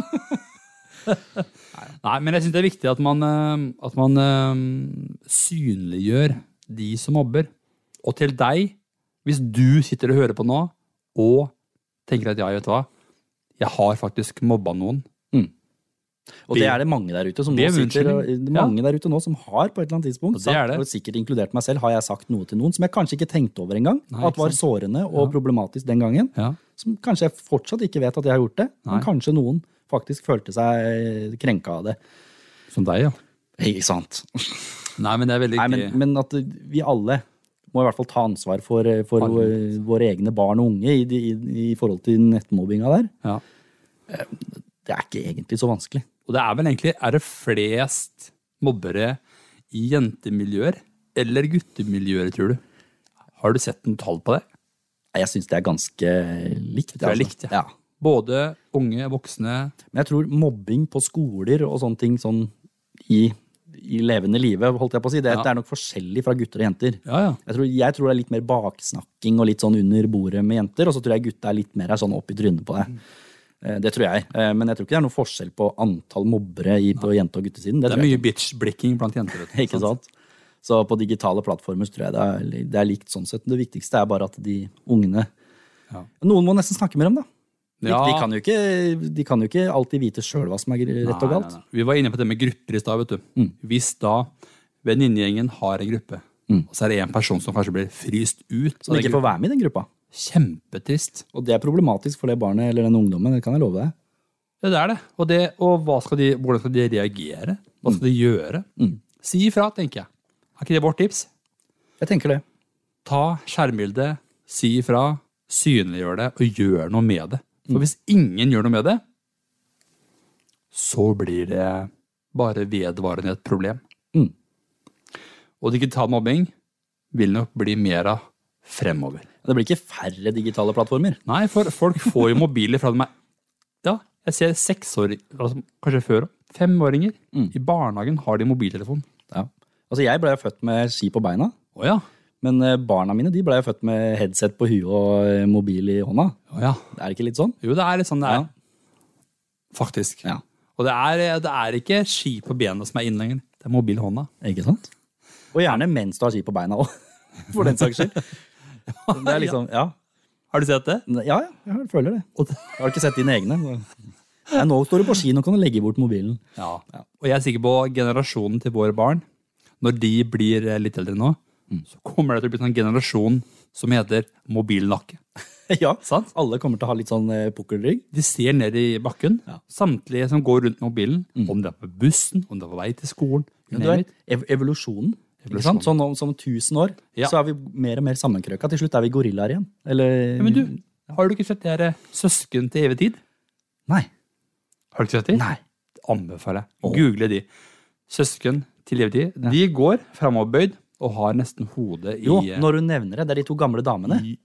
Nei, men jeg syns det er viktig at man, eh, at man eh, synliggjør de som mobber. Og til deg, hvis du sitter og hører på nå, og tenker at ja, vet du hva, jeg har faktisk mobba noen.
Og det er det mange der ute som nå
Be om
sitter, og-
unnskyldning.
det er mange der ute nå som har på et eller annet tidspunkt
Og det er
sagt,
det.
og sikkert inkludert meg selv, har jeg sagt noe til noen som jeg kanskje ikke tenkte over engang,
Nei,
at var sårende og problematisk den gangen.
Ja.
Som kanskje jeg fortsatt ikke vet at jeg har gjort det, men kanskje noen faktisk følte seg eh, krenka av det.
Som deg, ja.
Ikke sant?
Nei, men det er veldig
Nei, men,
ikke-
men at vi alle må i hvert fall ta ansvar for, eh, for våre, våre egne barn og unge i, de- i, i forhold til nettmobbinga der.
ja.
Det er ikke egentlig så vanskelig.
Og det er vel egentlig Er det flest mobbere i jentemiljøer eller guttemiljøer, tror du? Har du sett noen tall på det?
Nei, Jeg syns det er ganske likt. altså.
tror jeg er likt,
ja.
Både unge, voksne
Men jeg tror mobbing på skoler og sånne ting sånn i, i levende livet, holdt jeg på å si, det, det er nok forskjellig fra gutter og jenter.
Ja, ja.
Jeg tror, jeg tror det er litt mer baksnakking og litt sånn under bordet med jenter, og så tror jeg gutta er litt mer er sånn opp i trynet på
Mm.
deg. Eh, Det tror jeg. Eh, Men jeg tror ikke det er noen forskjell på antall mobbere i, på jente- og guttesiden. Det,
Det
tror
er
jeg
mye bitch-blikking blant jenter. Vet du, Sånn.
Ikke sant? Så på digitale plattformer så tror jeg det er, li- det er likt sånn sett. Det viktigste er bare at de ungene
Ja.
Noen må nesten snakke med dem, da. De,
Ja.
de, kan, jo ikke, de kan jo ikke alltid vite sjøl hva som er gr- rett og
Nei,
galt. Mm.
nei, nei. Vi var inne på det med grupper i stad. vet du. Hvis da venninnegjengen har en gruppe, og så er det en person som kanskje blir fryst ut så er
Mm. Som
det
ikke får være med i den gruppa.
Kjempetrist.
Og det er problematisk for det barnet eller den ungdommen, det kan jeg love deg.
Ja, det er det. Og, det, og hva skal de, hvordan skal de reagere? Hva
Mm.
skal de gjøre? Si ifra, tenker jeg. Er ikke det vårt tips?
Jeg tenker det.
Ta skjermbildet, si ifra, synliggjør det, og gjør noe med det. For hvis ingen gjør noe med det, så blir det bare vedvarende et problem.
Mm.
Og digital mobbing vil nok bli mer av fremover.
Det blir ikke færre digitale plattformer.
Nei, for folk får jo mobiler fra de er Jeg ser seksåringer, altså, kanskje før òg, femåringer. I barnehagen har de mobiltelefon.
Ja. Altså, jeg ble jo født med ski på beina,
Å ja.
men eh, barna mine de ble jo født med headset på huet og eh, mobil i hånda.
Å ja.
Det er ikke litt sånn?
Jo, det er litt sånn det er.
Ja.
Faktisk.
Ja.
Og det er, det er ikke ski på benet som er inn lenger. Det er mobil i hånda.
Ikke sant? Og gjerne mens du har ski på beina òg, for den saks skyld. Det er liksom, ja.
Har du sett det?
ja, ja, jeg føler det.
Og det
Jeg har ikke sett dine egne. Nei, nå står du på ski, nå kan du legge bort mobilen.
Ja. Og jeg er sikker på generasjonen til våre barn. Når de blir eh, litt eldre nå, så kommer det til å bli en sånn generasjon som heter mobilnakke.
ja, sant? Alle kommer til å ha litt sånn eh, pukkelrygg.
De ser ned i bakken,
Ja.
samtlige som går rundt med mobilen. Om det er på bussen, om det er på vei til skolen. you
Men du
name
vet,
it.
ev evolusjonen. Ikke
Evolusjonen.
sant? Sånn om som 1000 år
Ja.
så er vi mer og mer sammenkrøka. Til slutt er vi gorillaer igjen. Eller
Men du, har du ikke sett det her eh, Søsken til evig tid?
Nei.
Har du ikke sett de?
Nei.
Anbefaler jeg. Google de. Søsken til evig tid. De går framoverbøyd og har nesten hodet i
Jo,
eh,
når hun nevner det, det er de to gamle damene.
I-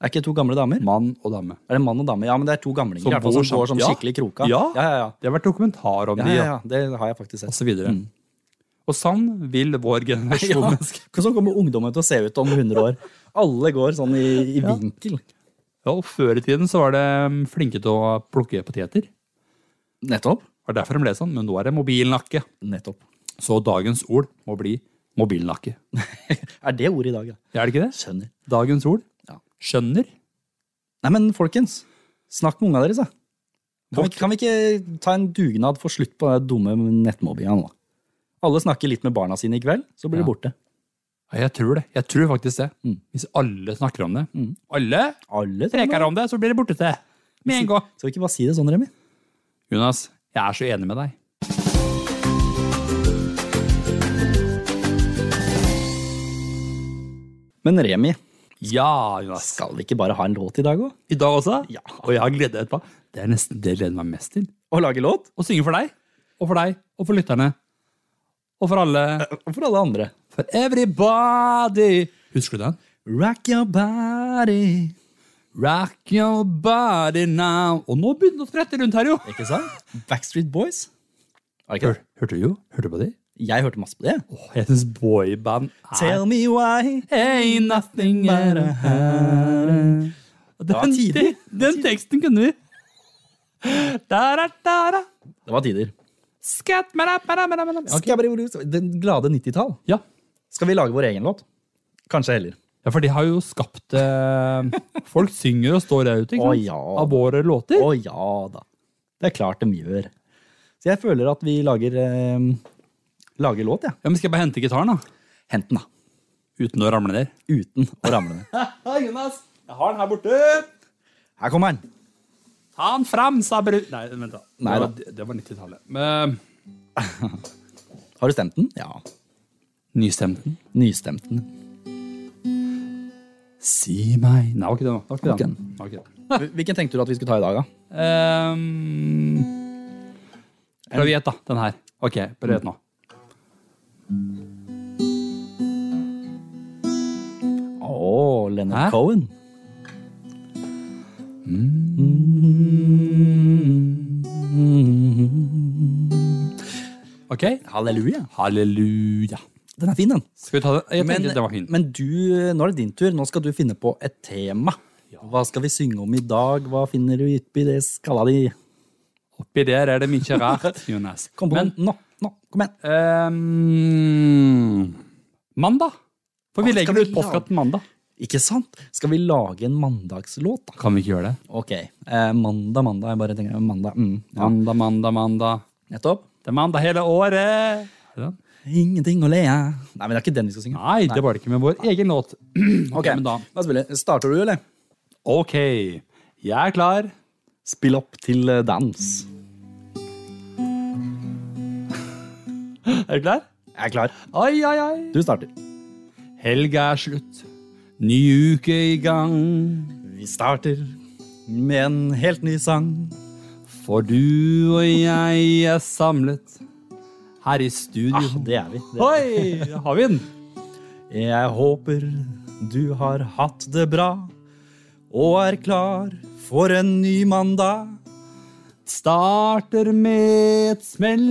Er ikke det to gamle damer?
mann og dame.
Er det mann og dame? Ja, men det er to gamlinger
Som
i hvert fall, som
bor
går
sammen. Ja.
som skikkelig kroka.
Ja.
Ja, ja, ja.
Det har vært dokumentar om
Ja,
de.
ja,
ja. Mm.
ja. Det har jeg faktisk
og
sett.
så videre. Og sånn vil vår generasjon
Ja.
mennesker.
Sånn kommer ungdommen til å se ut om 100 år. Alle går sånn i, i vinkel.
Ja, og før i tiden så var de mm, flinke til å plukke poteter. Det
Nettopp.
var derfor de ble sånn, men nå er det mobilnakke.
Nettopp.
Så dagens ord må bli mobilnakke.
Er det ordet i dag, ja?
Er det ikke det?
Skjønner.
Dagens ord.
Ja.
Skjønner.
Nei, men folkens, snakk med unga deres, da. Kan vi, kan vi ikke ta en dugnad for slutt på den dumme nettmobbinga nå? Alle snakker litt med barna sine i kveld, så blir de borte.
Ja, jeg tror det. Jeg tror faktisk det. Hvis alle snakker om det. Alle
Alle sammen.
preker om det, så blir det borte til. Med en gang.
Skal vi ikke bare si det sånn, Remi?
Jonas, jeg er så enig med deg.
Men Remi,
Ja, Jonas.
skal vi ikke bare ha en låt i dag òg?
I dag også?
Ja.
Og jeg har gledet etterpå. Det er nesten det jeg gleder meg mest til.
Og lage låt?
og synge for deg, og for deg, og for lytterne. Og for alle.
Og for alle andre.
For everybody. Husker du den?
Rock your body.
Rock your body now. Og nå begynner det å sprette rundt her, jo.
Ikke sant? Backstreet Boys. Er det ikke
Hør,
det?
hørte du jo? Hørte du på de?
Jeg hørte masse på det.
Åh, jeg syns boyband er
Tell me why.
Ain't nothing but a hand.
var
Den,
tidlig.
den, den teksten kunne vi. Da-da-da-da.
Det var tider.
Skat, mada, mada, mada, mada. Ja,
Skal jeg bare- Den glade 90-tall.
Ja.
Skal vi lage vår egen låt? Kanskje heller.
ja, for de har jo skapt eh, Folk synger og står der ute ikke
Å,
sant?
ja.
av våre låter.
Å ja da. Det er klart de gjør. Så jeg føler at vi lager, eh, lager låt, jeg.
Ja, men skal jeg bare hente gitaren, da?
Ja. Hent den, da.
Uten å ramle ned.
Uten å ramle ned.
Jonas, jeg har den her borte!
Her kommer den.
Ta den fram, sa bru... Nei, vent, da.
Nei
det
da.
var, det- det var 90-tallet. Men
Har du stemt den? Ja.
nystemten.
Nystemt den.
Si meg Nei, det var ikke den. da. Det var ikke den. Det var ikke den.
Hvil- Hvilken tenkte du at vi skulle ta i dag, da?
Um, Braviet, da. Den her. Ok, braviet nå.
Å, Leonard
Hæ?
Cohen.
Ok?
Halleluja.
Halleluja.
Den er fin, den.
Skal vi ta den? Jeg
Men,
tenkte det var fint.
men du, nå er det din tur. Nå skal du finne på et tema. Hva skal vi synge om i dag? Hva finner du oppi det skalla di?
Oppi der er det mye rart, Jonas.
Kom på
Men
den. Nå, nå, kom igjen.
ehm, Mandag. For vi
Hva skal
legger ut
vi lage?
postkatten mandag.
Ikke sant? Skal vi lage en mandagslåt, da?
Kan vi ikke gjøre det?
Ok. Eh, mandag, mandag. Jeg bare tenker mandag. Mm, ja.
Mandag, mandag, mandag.
Nettopp.
Det er mandag hele året!
Ingenting å le av. Nei, men det er ikke den vi skal synge.
Nei, det var det ikke med vår egen låt.
Ok,
men da.
da spiller jeg. Starter du, eller?
Ok, jeg er klar.
Spill opp til eh, dans.
Er du klar?
Jeg er klar.
Oi, oi, oi.
Du starter.
Helga er slutt. Ny uke i gang.
Vi starter med en helt ny sang.
For du og jeg er samlet her i studio.
Ah, det er vi. Det er.
Oi, har vi den?
vi. Jeg håper du har hatt det bra og er klar for en ny mandag.
Starter med et smell.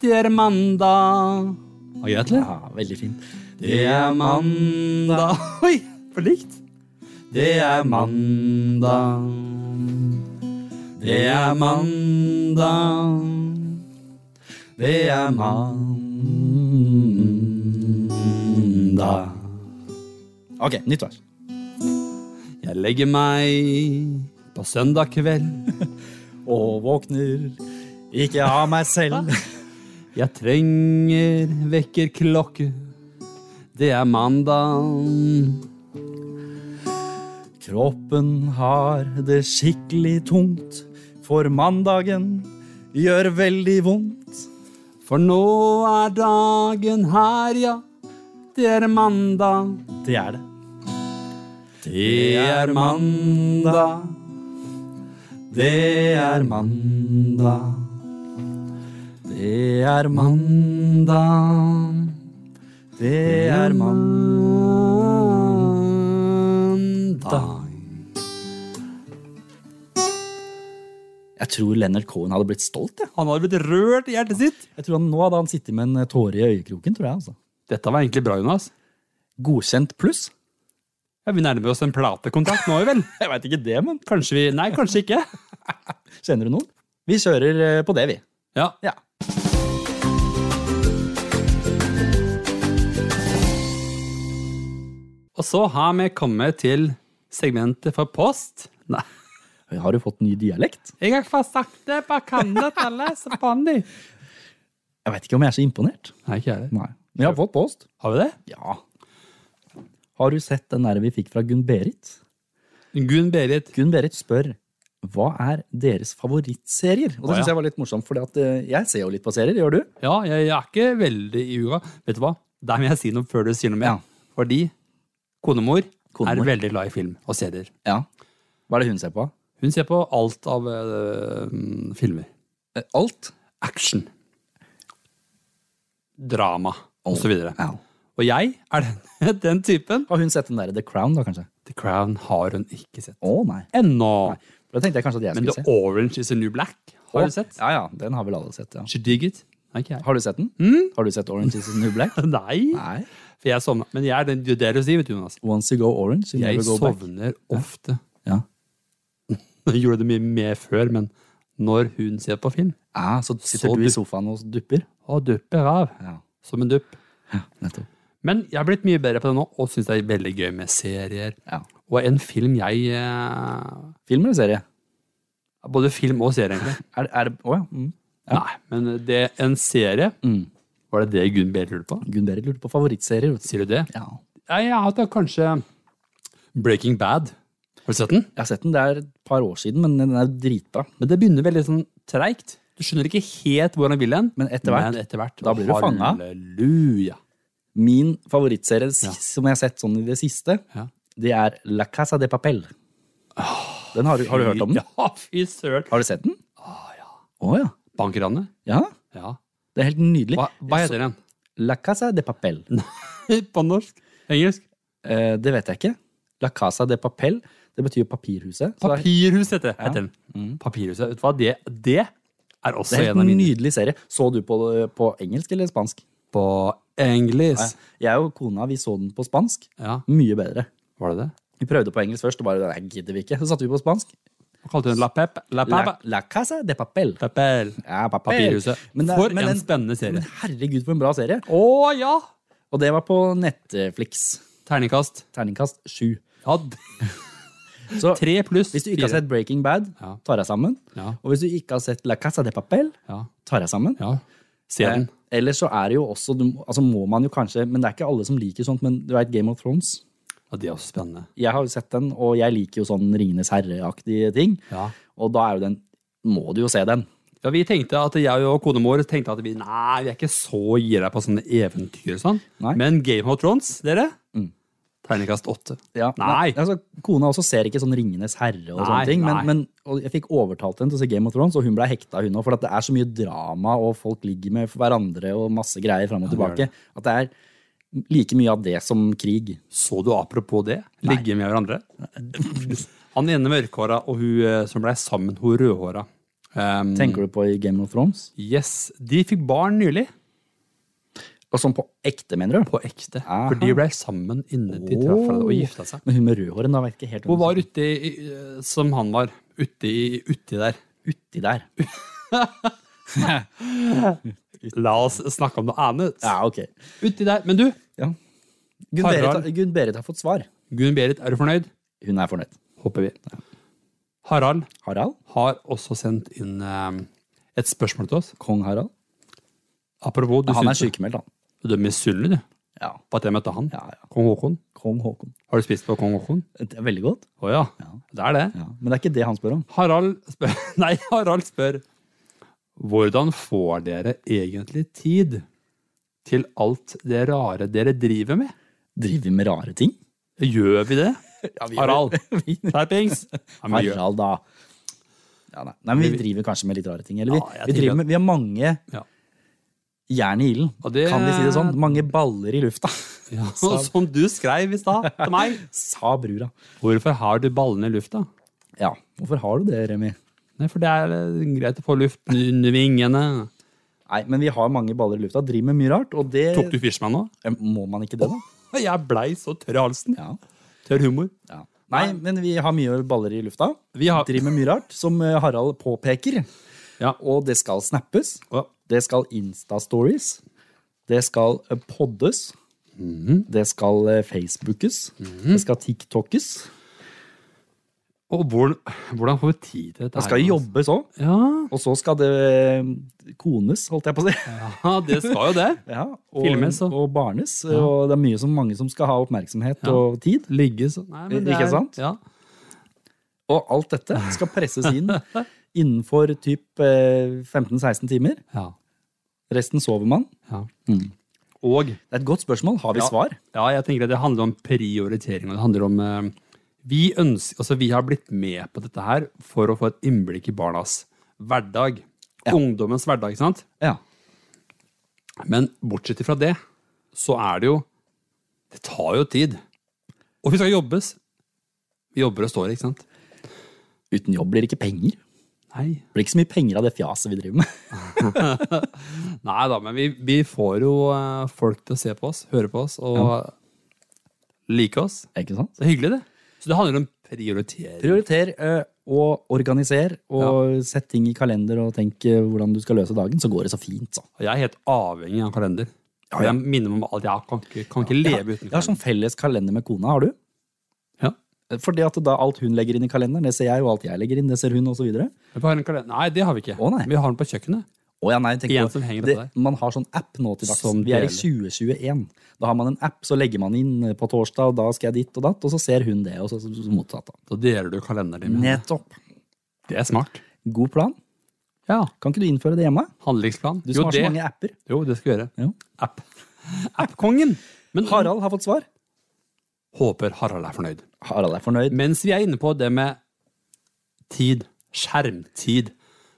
Det er mandag. Har jeg det?
Ja, veldig fint.
Det er mandag. Oi, for likt. Det er mandag. Det er mandag. Det er Mm. mandag.
Ok, nytt vers.
Jeg legger meg på søndag kveld.
Og våkner ikke av meg selv.
Jeg trenger vekkerklokke. Det er mandag.
Kroppen har det skikkelig tungt, for mandagen gjør veldig vondt.
For nå er dagen her, ja. Det er mandag.
Det er det.
Det er mandag.
Det er mandag. Det er mandag.
Mandag.
Det
Det
er
er
mandag.
mandag.
Jeg tror Leonard Cohen hadde blitt stolt. Jeg,
Han hadde blitt rørt i hjertet sitt.
jeg tror han, Nå hadde han sittet med en eh, tåre i øyekroken. tror jeg altså.
Dette var egentlig bra, Jonas.
Godkjent pluss?
Ja, vi nærmer oss en platekontakt nå, vel?
Jeg veit ikke det, men
Kanskje vi Nei, kanskje ikke.
kjenner du noen? Vi kjører eh, på det, vi.
Ja.
Ja.
Og så har vi kommet til segmentet for post. Nei.
Har du fått ny dialekt?
Jeg har ikke sagt det, bare kan det alle, så faen de.
Jeg veit ikke om jeg er så imponert.
Nei, ikke jeg det.
Nei. Men jeg har fått post.
Har vi det?
Ja. Har du sett den der vi fikk fra Gunn-Berit?
Gunn Berit.
Gunn-Berit spør hva er deres favorittserier? Og det
Å, ja.
syns jeg var litt morsomt, for jeg ser jo litt på serier. Gjør du?
Ja, jeg er ikke veldig i ura. Vet du hva? Der må jeg si noe før du sier noe mer.
Ja.
Fordi konemor,
Konemor.
er veldig glad i film og serier.
Ja. Hva er det hun ser på?
Hun ser på alt av øh, filmer.
Eh, Alt.
Action. Drama. Og så videre.
Ja.
Og jeg er den, den typen.
Har hun sett den der The Crown, da, kanskje?
The Crown har hun ikke sett.
Å, nei.
Ennå.
Da tenkte jeg kanskje at jeg
Men The
skulle se.
Orange is the New Black har
Å,
du sett.
Ja, ja. Den har vel alle sett, ja.
She dig it? Nei, ikke jeg.
Har du sett den? Har du sett Orange is the New Black?
Nei.
Hmm? Nei.
For jeg sovner. Men jeg er den, det er det du sier, vet du, Jonas.
Once you go orange, you
Jeg
never go back.
sovner ofte.
Ja.
Jeg gjorde det mye mer før, men når hun ser på film,
Ah, så sitter
Så
du
du-
i sofaen og dupper?
og dupper av.
Ja.
Som en dupp.
ja nettopp.
Men jeg har blitt mye bedre på det nå, og syns det er veldig gøy med serier.
Ja.
Og en film jeg eh,
Film eller serie?
Både film og serie, egentlig.
Er, er det Å ja. Mm.
Nei, men det en serie
Mm.
Var det det Gunn Berit lurte på?
Gunn-Berit lurte på favorittserier. vet du.
Sier du det?
Ja.
Nei, jeg har hatt det kanskje Breaking Bad. Har du sett den?
Jeg har sett den, det er et par år siden, men den er jo dritbra.
Men det begynner veldig sånn treigt. Du skjønner ikke helt hvor han vil hen.
Men etter hvert-
Men etter hvert
da blir du fanget.
Halleluja.
Min favorittserie s- som jeg har sett sånn i det siste,
Ja.
det er La Casa de Papel. Den har, du, har du hørt om den?
Ja, fy søren.
Har du sett den? Å Ah, ja.
Bankranet?
ja.
Ja.
Det er helt nydelig.
Hva, hva heter den?
La Casa de Papel.
På norsk? Engelsk?
Eh, det vet jeg ikke. La Casa de Papel, det betyr jo papirhuset. Så det er- Mm.
Papirhus heter, det- heter den. Papirhuset. Vet du hva, det, det er også
det er
en av
helt
mine.
nydelig serie. Så du på, det på engelsk eller spansk?
På engelsk.
Jeg og kona vi så den på spansk.
Ja,
Mye bedre.
var det det?
Vi prøvde på engelsk først, og bare nei, gidder vi ikke. Så satte vi på spansk.
Hva kalte hun den? La Pep? La
La,
Papa?
la Casa de Papel.
Papel.
Ja, papel.
Papirhuset.
Men det-
For
men
en
den-
spennende serie.
Men herregud, for en bra serie.
Å ja!
Og det var på Netflix.
Terningkast.
Terningkast sju.
Ja, d-
Så
tre pluss
hvis du ikke har
fire.
sett Breaking Bad,
Ja.
tar jeg sammen.
Ja.
Og hvis du ikke har sett La Casa de Papel,
Ja.
tar jeg sammen.
ja. Se den.
Eh, Ellers så er det jo også, du, altså må man jo kanskje, men det er ikke alle som liker sånt, men du vet Game of Thrones.
Ja, det er også spennende.
Jeg har jo sett den, og jeg liker jo sånn Ringenes herre-aktige ting.
Ja.
Og da er jo den, må du jo se den.
Ja, vi tenkte at Jeg og kona vår tenkte at vi nei, vi er ikke så gira på sånne eventyr. og sånn.
Nei. Mm.
Men Game of Thrones, dere? Terningkast åtte.
Ja,
Nei.
Altså, kona også ser ikke sånn Ringenes herre og
Nei,
sånne ting, men,
nei.
men og jeg fikk overtalt henne til å se Game of Thrones, og hun ble hekta, hun òg, for at det er så mye drama, og folk ligger med hverandre og masse greier fram og
det
tilbake. At det er like mye av det som krig.
Så du apropos det? Ligge med hverandre? Han ene mørkhåra og hun eh, som blei sammen, hun rødhåra. Um,
Tenker du på i Game of Thrones?
yes, de fikk barn nylig.
Og sånn på ekte, mener du?
På ekte.
Aha.
For de ble sammen innen de traff hverandre og gifta seg.
Men hun med rødhåren da vet ikke helt
Hun
hun
var uti i- som han var. Uti, i- uti der.
uti der.
La oss snakke om noe annet.
Ja, ok.
Uti der. Men du,
Ja. Gunn
Harald.
Berit, Gunn Berit har fått svar.
Gunn Berit, er du fornøyd?
Hun er fornøyd.
Håper vi. Harald
Harald?
har også sendt inn eh, et spørsmål til oss.
Kong Harald?
Apropos, du
Han er
synes-
sykemeldt, han.
Du er misunnelig, du.
Ja.
På at jeg møtte han.
ja, ja.
Kong Håkon.
Kong Haakon.
Har du spist på Kong Håkon?
Det er veldig godt.
Å ja.
Ja.
Det er det.
Ja. Men det er ikke det han spør om.
Harald spør Nei, Harald spør Hvordan får dere egentlig tid til alt det rare dere driver med?
Driver vi med rare ting?
Gjør vi det?
Ja, vi gjør
Harald,
Vi-
skjerpings! Ja, men vi gjør-
Harald, da. Ja, nei. nei, men Vi driver kanskje med litt rare ting. Eller vi,
Ja, jeg
vi,
tenker
driver
at-
med, vi har mange
Ja.
jern i ilden,
Og det-
kan vi si det sånn. Mange baller i lufta,
Ja, som du skrev i stad til meg.
sa brura.
Hvorfor har du ballene i lufta?
Ja, Hvorfor har du det, Remi?
Nei, for det er eh, greit å få luft under vingene.
Nei, men vi har mange baller i lufta, driver med mye rart, og det
Tok du Fishman nå?
Må man ikke det, da?
Jeg blei så tørr i halsen.
Ja.
Tørr humor.
ja. Nei, men vi har mye baller i lufta.
Vi har
Driver med mye rart, som eh, Harald påpeker.
Ja.
Og det skal snappes.
Å,
Det skal Insta-stories. Det skal eh, poddes.
Mhm.
Det skal eh, Facebookes. Det skal TikTokes.
Og hvordan, hvordan får vi tid til dette?
Det skal
her, altså?
jobbes òg.
Ja,
Og så skal det eh, kones, holdt jeg på å si.
ja, det skal jo det.
Ja, og,
Filmes og-
og, barnes. Og det er mye som, mange som skal ha oppmerksomhet og tid.
Ligge sånn. Nei, men det
Ikke
er-
sant?
Ja.
Og alt dette skal presses inn innenfor typ eh, 15-16 timer.
Ja.
Resten sover man.
ja. Og
Det er et godt spørsmål. Har vi
Ja.
svar?
ja, jeg tenker at det handler om prioritering. Og det handler om eh, vi, ønsker, altså, vi har blitt med på dette her for å få et innblikk i barnas hverdag. Ungdommens hverdag, ikke sant?
Ja.
Men bortsett fra det, så er det jo Det tar jo tid. Og vi skal jobbes. Vi jobber og står, ikke sant?
Uten jobb blir det ikke penger. Det
Nei.
blir ikke så mye penger av det fjaset vi driver med.
Nei da, men vi, vi får jo eh, folk til å se på oss, høre på oss og like oss.
Ikke sant?
Det er hyggelig, det. Så det handler om prioritering.
Prioriter eh, og organiser, og sett ting i kalender og tenk eh, hvordan du skal løse dagen, så går det så fint. Så.
Og jeg er helt avhengig av en kalender. Og jeg minner meg om alt. Jeg kan ikke, kan ikke
Jeg, har-
leve uten
jeg
kalender.
har sånn felles kalender med kona, har du? Eh,
Ja.
Fordi at da alt hun legger inn i kalenderen, det ser jeg, og alt jeg legger inn, det ser hun, og så videre.
Jeg har en kalender. Nei, det har vi ikke.
Å, nei.
Vi har den på kjøkkenet.
Å ja, nei, tenk
Igjen
på-
som henger
det,
etter deg.
man har sånn app nå til dags.
Som
Vi er i
deler.
2021. Da har man en app, så legger man inn eh, på torsdag, og da skal jeg dit og datt, og så ser hun det, og så, så, så motsatt. Da.
Så deler du kalenderen din med henne.
Nettopp.
Det er smart.
God plan.
Ja.
Kan ikke du innføre det hjemme?
Handlingsplan.
Du som
jo,
har
det.
så mange apper.
jo, det skal vi gjøre.
Jo.
App. App-kongen. Men
Harald har fått svar.
håper Harald er fornøyd.
Harald er fornøyd.
Mens vi er inne på det med tid, skjermtid,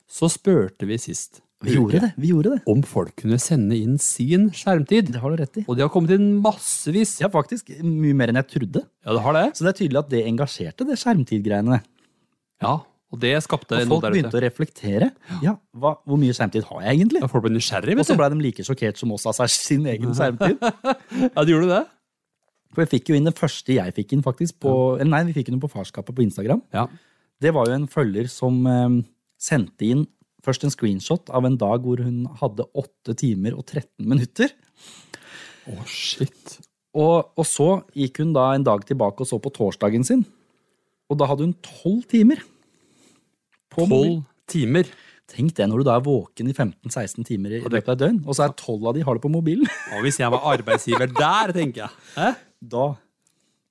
så spurte vi sist
Vi gjorde det. Vi gjorde det.
om folk kunne sende inn sin skjermtid.
Det har du rett i.
Og det har kommet inn massevis.
Ja, faktisk. Mye mer enn jeg trodde.
Ja, det har det.
Så det er tydelig at det engasjerte, det skjermtidgreiene.
Ja, og det skapte
Og
noe
folk
der
begynte
ute.
å reflektere. Ja, hva, hvor mye skjermtid har jeg egentlig?
Ja, folk ble nysgjerrig,
Og
vet
så
du.
blei de like sjokkert som oss av seg sin egen skjermtid.
Ja, de gjorde det.
For jeg fikk jo inn det første jeg fikk inn, faktisk. På, eller nei, vi fikk den på farskapet på Instagram.
Ja.
Det var jo en følger som eh, sendte inn først en screenshot av en dag hvor hun hadde 8 timer og 13 minutter.
Å, shit.
Og, og så gikk hun da en dag tilbake og så på torsdagen sin. Og da hadde hun 12 timer. På mobil.
Tolv timer.
Tenk det når du da er våken i 15-16 timer i løpet av et døgn, og så er 12 av de har det på mobilen.
Og hvis jeg var arbeidsgiver der, tenker jeg. Hæ?
Da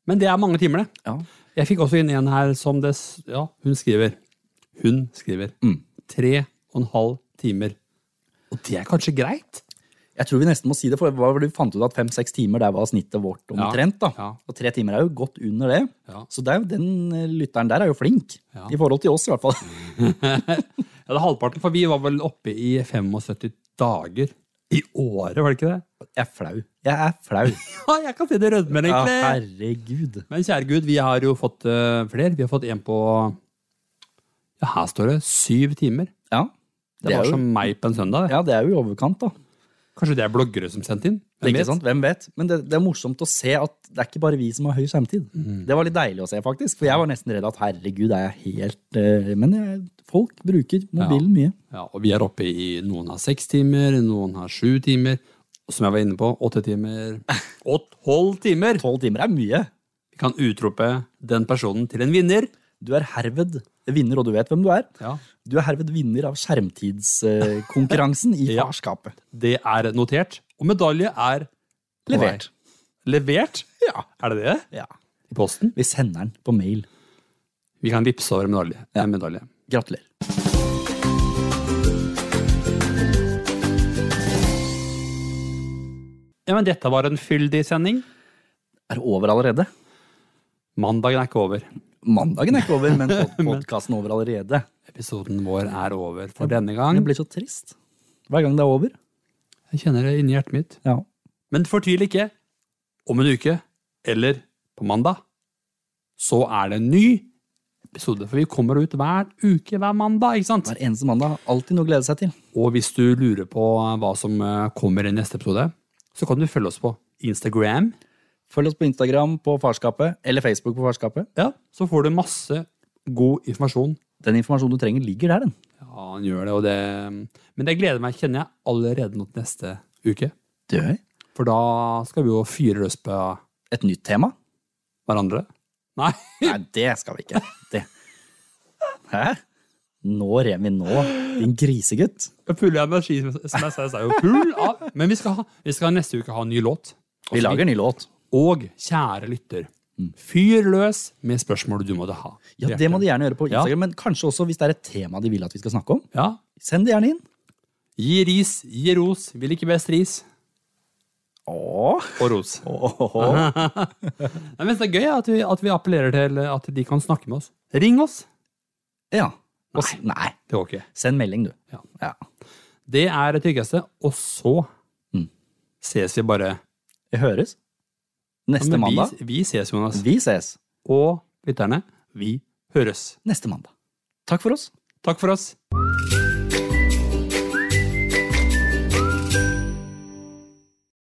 Men det er mange timer, det.
Ja.
Jeg fikk også inn en her som det s- Ja, hun skriver. Hun skriver. Tre og en halv timer. Og det er kanskje greit?
Jeg tror vi nesten må si det, for hva var det vi fant ut at fem-seks timer der var snittet vårt omtrent. da.
Ja.
Og tre timer er jo godt under det.
Ja.
Så det er jo den eh, lytteren der er jo flink.
Ja.
I forhold til oss, i hvert fall.
Ja, det er halvparten, for vi var vel oppe i 75 dager i året, var det ikke det?
Jeg er flau. Jeg er flau.
Ja, jeg kan si det rødmer,
Ja,
egentlig.
herregud.
Men kjære Gud, vi har jo fått eh, flere. Vi har fått en på Ja, her står det syv timer.
Ja.
Det, var
er jo,
som meg på en søndag. det.
ja, det er jo i overkant, da.
Kanskje det er bloggere som sendte inn? Hvem
Ikke
vet?
sant? Hvem vet? Men det, det er morsomt å se at det er ikke bare vi som har høy skjermtid.
Mm.
Det var litt deilig å se, faktisk. For jeg var nesten redd at herregud, er jeg helt eh, Men jeg, folk bruker mobilen mye.
Ja, og vi er oppe i noen har seks timer, noen har sju timer, og som jeg var inne på, åtte timer. Og tolv timer!
Tolv timer er mye.
Vi kan utrope den personen til en vinner.
Du er herved vinner, og du vet hvem du er.
Ja.
Du er herved vinner av skjermtidskonkurransen i
Ja.
farskapet.
Det er notert. Og medalje er på vei.
Levert.
Levert?
Ja.
Er det det?
ja.
I posten?
Vi sender den på mail.
Vi kan vippse over medalje. En medalje.
Gratulerer.
Ja, men dette var en fyldig sending.
Er det over allerede?
Mandagen er ikke over.
Mandagen er ikke over, men podkasten er over allerede.
Episoden vår er over for denne
Jeg
gang.
blir så trist hver gang det er over.
Jeg kjenner det inni hjertet mitt.
Ja.
Men fortvil ikke. Om en uke, eller på mandag, så er det en ny episode. For vi kommer ut hver uke hver mandag, ikke sant?
Hver eneste mandag. Alltid noe å glede seg til.
Og hvis du lurer på hva som eh, kommer i neste episode, så kan du følge oss på Instagram.
Følg oss på Instagram på Farskapet, eller Facebook på Farskapet.
Ja, så får du masse god informasjon.
Den informasjonen du trenger, ligger der, den.
Ja, han gjør det, og det Men jeg gleder meg, kjenner jeg, allerede nå til neste uke.
Død.
For da skal vi jo fyre løs på
Et nytt tema?
hverandre. Nei,
Nei, det skal vi ikke. Det. Hæ? Nå Remi, nå, din grisegutt.
jeg full av energi, som jeg sa. Jeg sa jo full av Men vi skal, ha, vi skal neste uke ha en ny låt.
Vi lager en ny låt.
Og kjære lytter, fyr løs med spørsmål du måtte ha.
Mm. Ja, Det må de gjerne gjøre på
Ja.
Instagram, men kanskje også hvis det er et tema de vil at vi skal snakke om.
Ja.
Send det gjerne inn.
Gi ris, gi ros. Vil ikke best ris.
Åh.
Og ros.
Åh.
Nei, men Det er gøy ja, at vi, at vi appellerer til at de kan snakke med oss. Ring oss.
Ja. Og s- Nei.
Det går ikke.
Send melding, du.
Ja.
Ja.
Det er det tryggeste. Og så
Mm.
ses vi bare
Vi høres. Neste
Men
mandag.
Vi, vi ses, Jonas.
Vi ses
Og lytterne, vi høres.
neste mandag. Takk for oss.
Takk for oss.